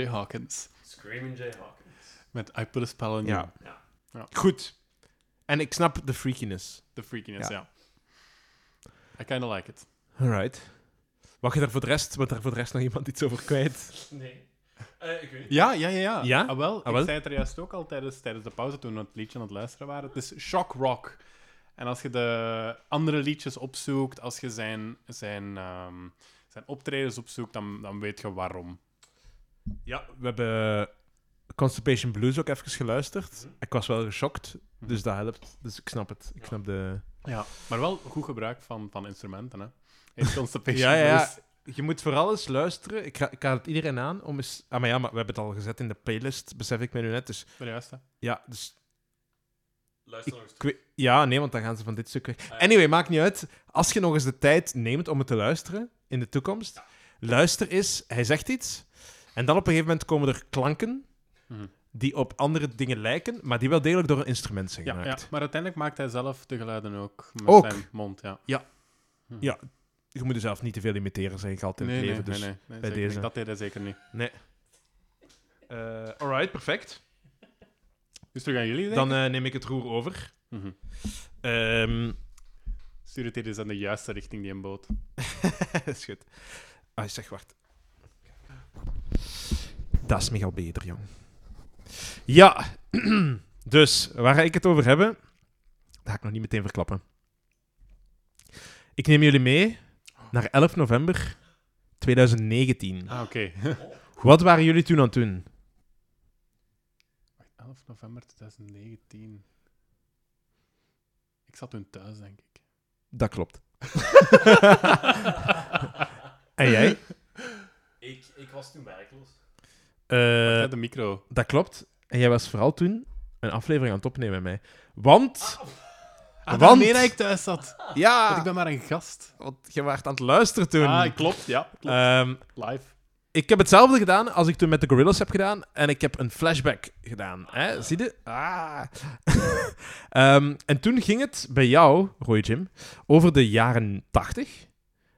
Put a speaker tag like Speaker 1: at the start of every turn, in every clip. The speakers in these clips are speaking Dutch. Speaker 1: Jay Hawkins.
Speaker 2: Screaming Jay Hawkins.
Speaker 1: Met I Put a Spell on You.
Speaker 3: Ja.
Speaker 2: Ja.
Speaker 3: Goed. En ik snap de freakiness.
Speaker 1: The freakiness,
Speaker 3: Ja.
Speaker 1: ja. I kinda like it.
Speaker 3: Alright. Mag je daar voor de rest, want daar voor de rest nog iemand iets over kwijt?
Speaker 2: Nee. Eh, ik weet niet.
Speaker 1: Ja, ja, ja. Ja?
Speaker 3: Ja?
Speaker 1: Ah, wel,
Speaker 3: Ah, wel.
Speaker 1: Ik zei het er juist ook al tijdens, tijdens de pauze toen we het liedje aan het luisteren waren. Het is shock rock. En als je de andere liedjes opzoekt, als je zijn, zijn, ehm, zijn optredens opzoekt, dan, dan weet je waarom.
Speaker 3: Ja, we hebben Constipation Blues ook even geluisterd.
Speaker 2: Mhm.
Speaker 3: Ik was wel geschokt, dus dat helpt. Dus ik snap het. Ik snap de...
Speaker 1: Ja. Maar wel goed gebruik van, van instrumenten, hè. In Constipation
Speaker 3: Ja, ja, ja.
Speaker 1: Blues.
Speaker 3: Je moet vooral eens luisteren. Ik, ga, ik haal het iedereen aan om eens... Ah, maar ja, maar we hebben het al gezet in de playlist, besef ik me nu net. Dus
Speaker 1: Ben je juist, hè?
Speaker 3: ja, dus...
Speaker 2: Luister nog eens
Speaker 3: ik weet- ja, nee, want dan gaan ze van dit stuk weg.
Speaker 2: ja.
Speaker 3: Anyway, maakt niet uit. Als je nog eens de tijd neemt om het te luisteren in de toekomst, luister eens, hij zegt iets. En dan op een gegeven moment komen er klanken
Speaker 1: Mhm.
Speaker 3: die op andere dingen lijken, maar die wel degelijk door een instrument zijn
Speaker 1: Ja, ja,
Speaker 3: gemaakt.
Speaker 1: maar uiteindelijk maakt hij zelf de geluiden ook met
Speaker 3: Ook?
Speaker 1: zijn mond. Ja.
Speaker 3: Je moet jezelf niet te veel imiteren, zeg ik altijd in
Speaker 1: Nee,
Speaker 3: het
Speaker 1: nee,
Speaker 3: leven.
Speaker 1: nee,
Speaker 3: dus.
Speaker 1: nee, nee, zeker
Speaker 3: deze.
Speaker 1: niet. Dat deed hij zeker niet.
Speaker 3: Eh, alright, perfect.
Speaker 1: Dus terug aan jullie, denk ik.
Speaker 3: Dan eh, neem ik het roer over.
Speaker 1: Mhm.
Speaker 3: Ehm
Speaker 1: Stuur het hier eens aan de juiste richting, die een boot.
Speaker 3: is goed. Ah, zeg, wacht. Dat is nogal beter, jong. Ja, dus waar ga ik het over hebben, dat ga ik nog niet meteen verklappen. Ik neem jullie mee naar 11 november 2019.
Speaker 1: Ah, oké.
Speaker 3: Wat waren jullie toen aan het doen?
Speaker 1: Wacht, 11 november 2019. Ik zat toen thuis, denk ik.
Speaker 3: Dat klopt. en jij?
Speaker 2: Ik, ik was toen werkloos.
Speaker 3: Eh,
Speaker 1: Ja, de micro.
Speaker 3: dat klopt. En jij was vooral toen een aflevering aan het opnemen met mij. Want...
Speaker 1: Ah,
Speaker 3: Want-
Speaker 1: Want... nee, dat ik thuis zat.
Speaker 3: Ja!
Speaker 1: Want ik ben maar een gast.
Speaker 3: Want je waart aan het luisteren toen.
Speaker 1: Ah, klopt, ja. Klopt.
Speaker 3: Ehm,
Speaker 1: Live.
Speaker 3: ik heb hetzelfde gedaan als ik toen met de Gorillas heb gedaan. En ik heb een flashback gedaan. Hè? Zie je? Ah. Ehm, en toen ging het bij jou, Roy Jim, over de jaren 80.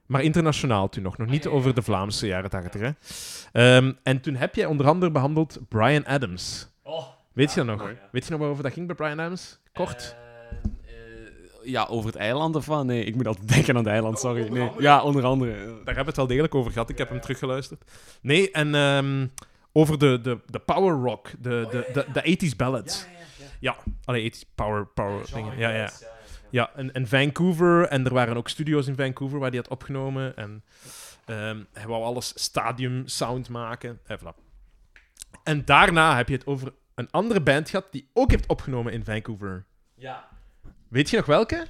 Speaker 3: Maar internationaal toen nog. Nog niet
Speaker 2: Ah, ja, ja.
Speaker 3: over de Vlaamse jaren 80. Hè? Ehm, en toen heb jij onder andere behandeld Brian Adams.
Speaker 2: Oh,
Speaker 3: Weet je
Speaker 2: Ja,
Speaker 3: dat nog?
Speaker 2: mooi, ja. Eh,
Speaker 3: Weet je nog waarover dat ging bij Brian Adams? Kort.
Speaker 4: Eh, eh, ja, over het eiland ervan? Nee, ik moet altijd denken aan het eiland, sorry.
Speaker 2: onder
Speaker 4: Nee.
Speaker 2: andere?
Speaker 4: Ja, onder andere.
Speaker 3: Daar hebben we het wel degelijk over gehad. Ik heb hem teruggeluisterd. Nee, en ehm, over de, de, de power rock, de, de, de, de 80s ballads.
Speaker 2: Oh, ja, ja. ja.
Speaker 3: Allee, 80s power, power
Speaker 2: Genre
Speaker 3: dingen. Ja, ja.
Speaker 2: jazz, ja, ja.
Speaker 3: Ja, en, en Vancouver. En er waren ook studio's in Vancouver waar hij had opgenomen. En ehm, hij wou alles stadium sound maken. En, voilà. en daarna heb je het over een andere band gehad die ook heeft opgenomen in Vancouver.
Speaker 2: Ja.
Speaker 3: Weet je nog welke?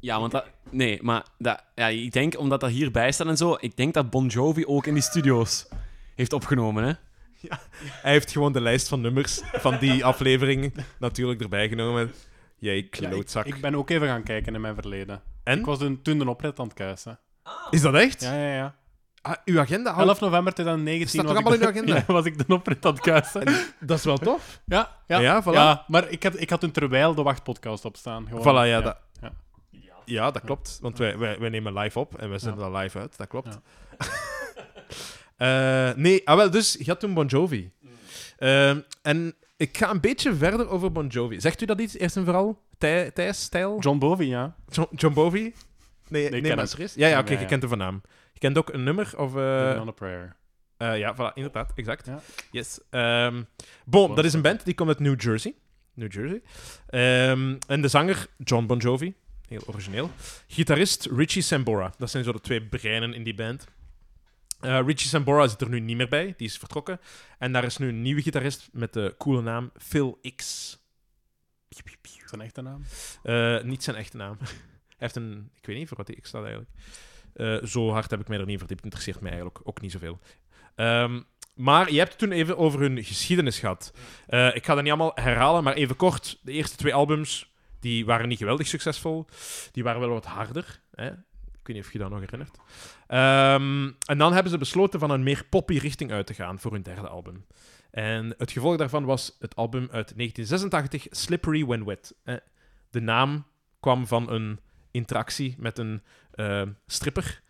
Speaker 4: Ja, want dat... Nee, maar dat, ja, ik denk, omdat dat hierbij staat en zo, ik denk dat Bon Jovi ook in die studio's heeft opgenomen, hè.
Speaker 3: Hij heeft gewoon de lijst van nummers van die aflevering natuurlijk erbij genomen. Jij
Speaker 1: Ja, ik,
Speaker 3: klootzak.
Speaker 1: ik ben ook even gaan kijken in mijn verleden.
Speaker 3: En?
Speaker 1: Ik was toen, toen een oprit aan het kuisen.
Speaker 3: Is dat echt?
Speaker 1: Ja, ja, ja.
Speaker 3: Ah, uw agenda houdt...
Speaker 1: 11 november 2019
Speaker 3: Staat
Speaker 1: was,
Speaker 3: toch
Speaker 1: ik
Speaker 3: allemaal
Speaker 1: de-
Speaker 3: in de agenda?
Speaker 1: Ja, was ik de oprit aan het kuisen.
Speaker 3: Dat is wel tof.
Speaker 1: Ja,
Speaker 3: Ja,
Speaker 1: ja. ja.
Speaker 3: voilà.
Speaker 1: maar ik had, ik had toen terwijl de wachtpodcast opstaan. Gewoon.
Speaker 3: Voilà, ja,
Speaker 1: ja.
Speaker 3: Dat,
Speaker 2: Ideaal.
Speaker 3: ja, dat klopt. Want wij, wij, wij nemen live op en wij zetten
Speaker 1: Ja.
Speaker 3: dat live uit. Dat klopt.
Speaker 1: Ja.
Speaker 3: Eh, nee, ah wel, dus je had toen Bon Jovi. Ehm, en ik ga een beetje verder over Bon Jovi. Zegt u dat iets, eerst en vooral? Thij- Thijs, stijl?
Speaker 1: John Bovi, ja.
Speaker 3: John, John Bovi? Nee, nee,
Speaker 1: ken
Speaker 3: maar
Speaker 1: hem.
Speaker 3: serieus? Ja, ja oké,
Speaker 1: Ja, ja.
Speaker 3: je kent hem van naam. Je kent ook een nummer of... eh,
Speaker 1: Living on a Prayer.
Speaker 3: Eh, ja, voilà, inderdaad, exact.
Speaker 1: Ja.
Speaker 3: Yes. Ehm, bon, dat is een band die komt uit New Jersey. New Jersey. Ehm, en de zanger John Bon Jovi, heel origineel. Gitarist Richie Sambora. Dat zijn zo de twee breinen in die band. Eh, Richie Sambora zit er nu niet meer bij, die is vertrokken. En daar is nu een nieuwe gitarist met de coole naam Phil X.
Speaker 1: Zijn echte naam?
Speaker 3: Eh, niet zijn echte naam. Hij heeft een... Ik weet niet voor wat die X staat eigenlijk. Eh, zo hard heb ik mij er niet verdiept. Interesseert mij eigenlijk ook niet zoveel. Ehm, maar je hebt het toen even over hun geschiedenis gehad. Eh, ik ga dat niet allemaal herhalen, maar even kort. De eerste twee albums die waren niet geweldig succesvol. Die waren wel wat harder. Hè? Ik weet niet of je dat nog herinnert. Ehm, en dan hebben ze besloten van een meer poppy richting uit te gaan voor hun derde album. En het gevolg daarvan was het album uit 1986, Slippery When Wet. Eh, de naam kwam van een interactie met een eh, stripper.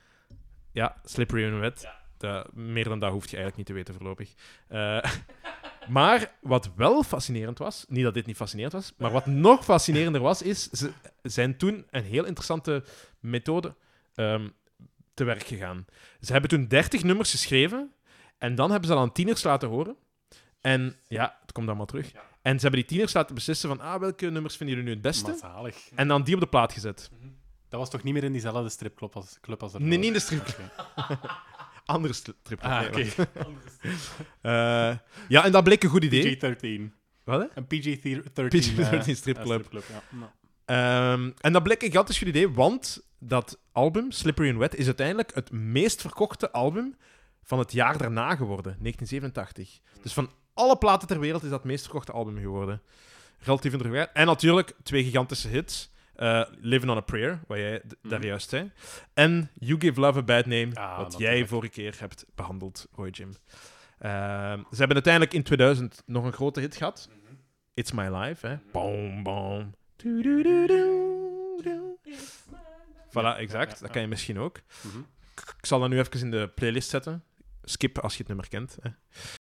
Speaker 3: Ja, Slippery When Wet.
Speaker 2: Ja.
Speaker 3: Dat- meer dan dat hoeft je eigenlijk niet te weten voorlopig. Eh, maar wat wel fascinerend was, niet dat dit niet fascinerend was, maar wat nog fascinerender was, is ze zijn toen een heel interessante methode ehm, te werk gegaan. Ze hebben toen 30 nummers geschreven en dan hebben ze dat aan tieners laten horen. En ja, het komt allemaal terug.
Speaker 2: Ja.
Speaker 3: En ze hebben die tieners laten beslissen van ah, welke nummers vinden jullie nu het beste?
Speaker 1: Maar zalig.
Speaker 3: En dan die op de plaat gezet.
Speaker 1: Dat was toch niet meer in diezelfde stripclub als, club als ervoor?
Speaker 3: Nee, niet in de strip.
Speaker 1: Oké.
Speaker 3: Andere strip.
Speaker 1: Ah, oké.
Speaker 2: Andere stem.
Speaker 3: Eh, ja, en dat bleek een goed idee.
Speaker 1: PG-13.
Speaker 3: Wat, hè?
Speaker 1: Een PG-13
Speaker 3: PG-13
Speaker 1: eh,
Speaker 3: stripclub.
Speaker 1: eh, ja. Nou,
Speaker 3: Ehm, en dat bleek een gigantisch goed idee, want dat album, Slippery and Wet, is uiteindelijk het meest verkochte album van het jaar daarna geworden, 1987. Dus van alle platen ter wereld is dat het meest verkochte album geworden. Relatief indrukwekkend. En natuurlijk twee gigantische hits. eh, Living on a Prayer, wat jij d- daar
Speaker 1: Mhm.
Speaker 3: juist zei. En You Give Love a Bad Name,
Speaker 1: Ah,
Speaker 3: wat jij
Speaker 1: natuurlijk.
Speaker 3: vorige keer hebt behandeld, Roy Jim. Ehm, ze hebben uiteindelijk in 2000 nog een grote hit gehad.
Speaker 2: Mhm.
Speaker 3: It's My Life,
Speaker 1: Mhm.
Speaker 3: hè. Boom, boom. Du-du-du-du-du. Voilà, exact.
Speaker 1: ja, ja.
Speaker 3: Dat kan je misschien ook.
Speaker 1: mhm.
Speaker 3: Ik zal dat nu even in de playlist zetten. Skip als je het nummer kent. Hè.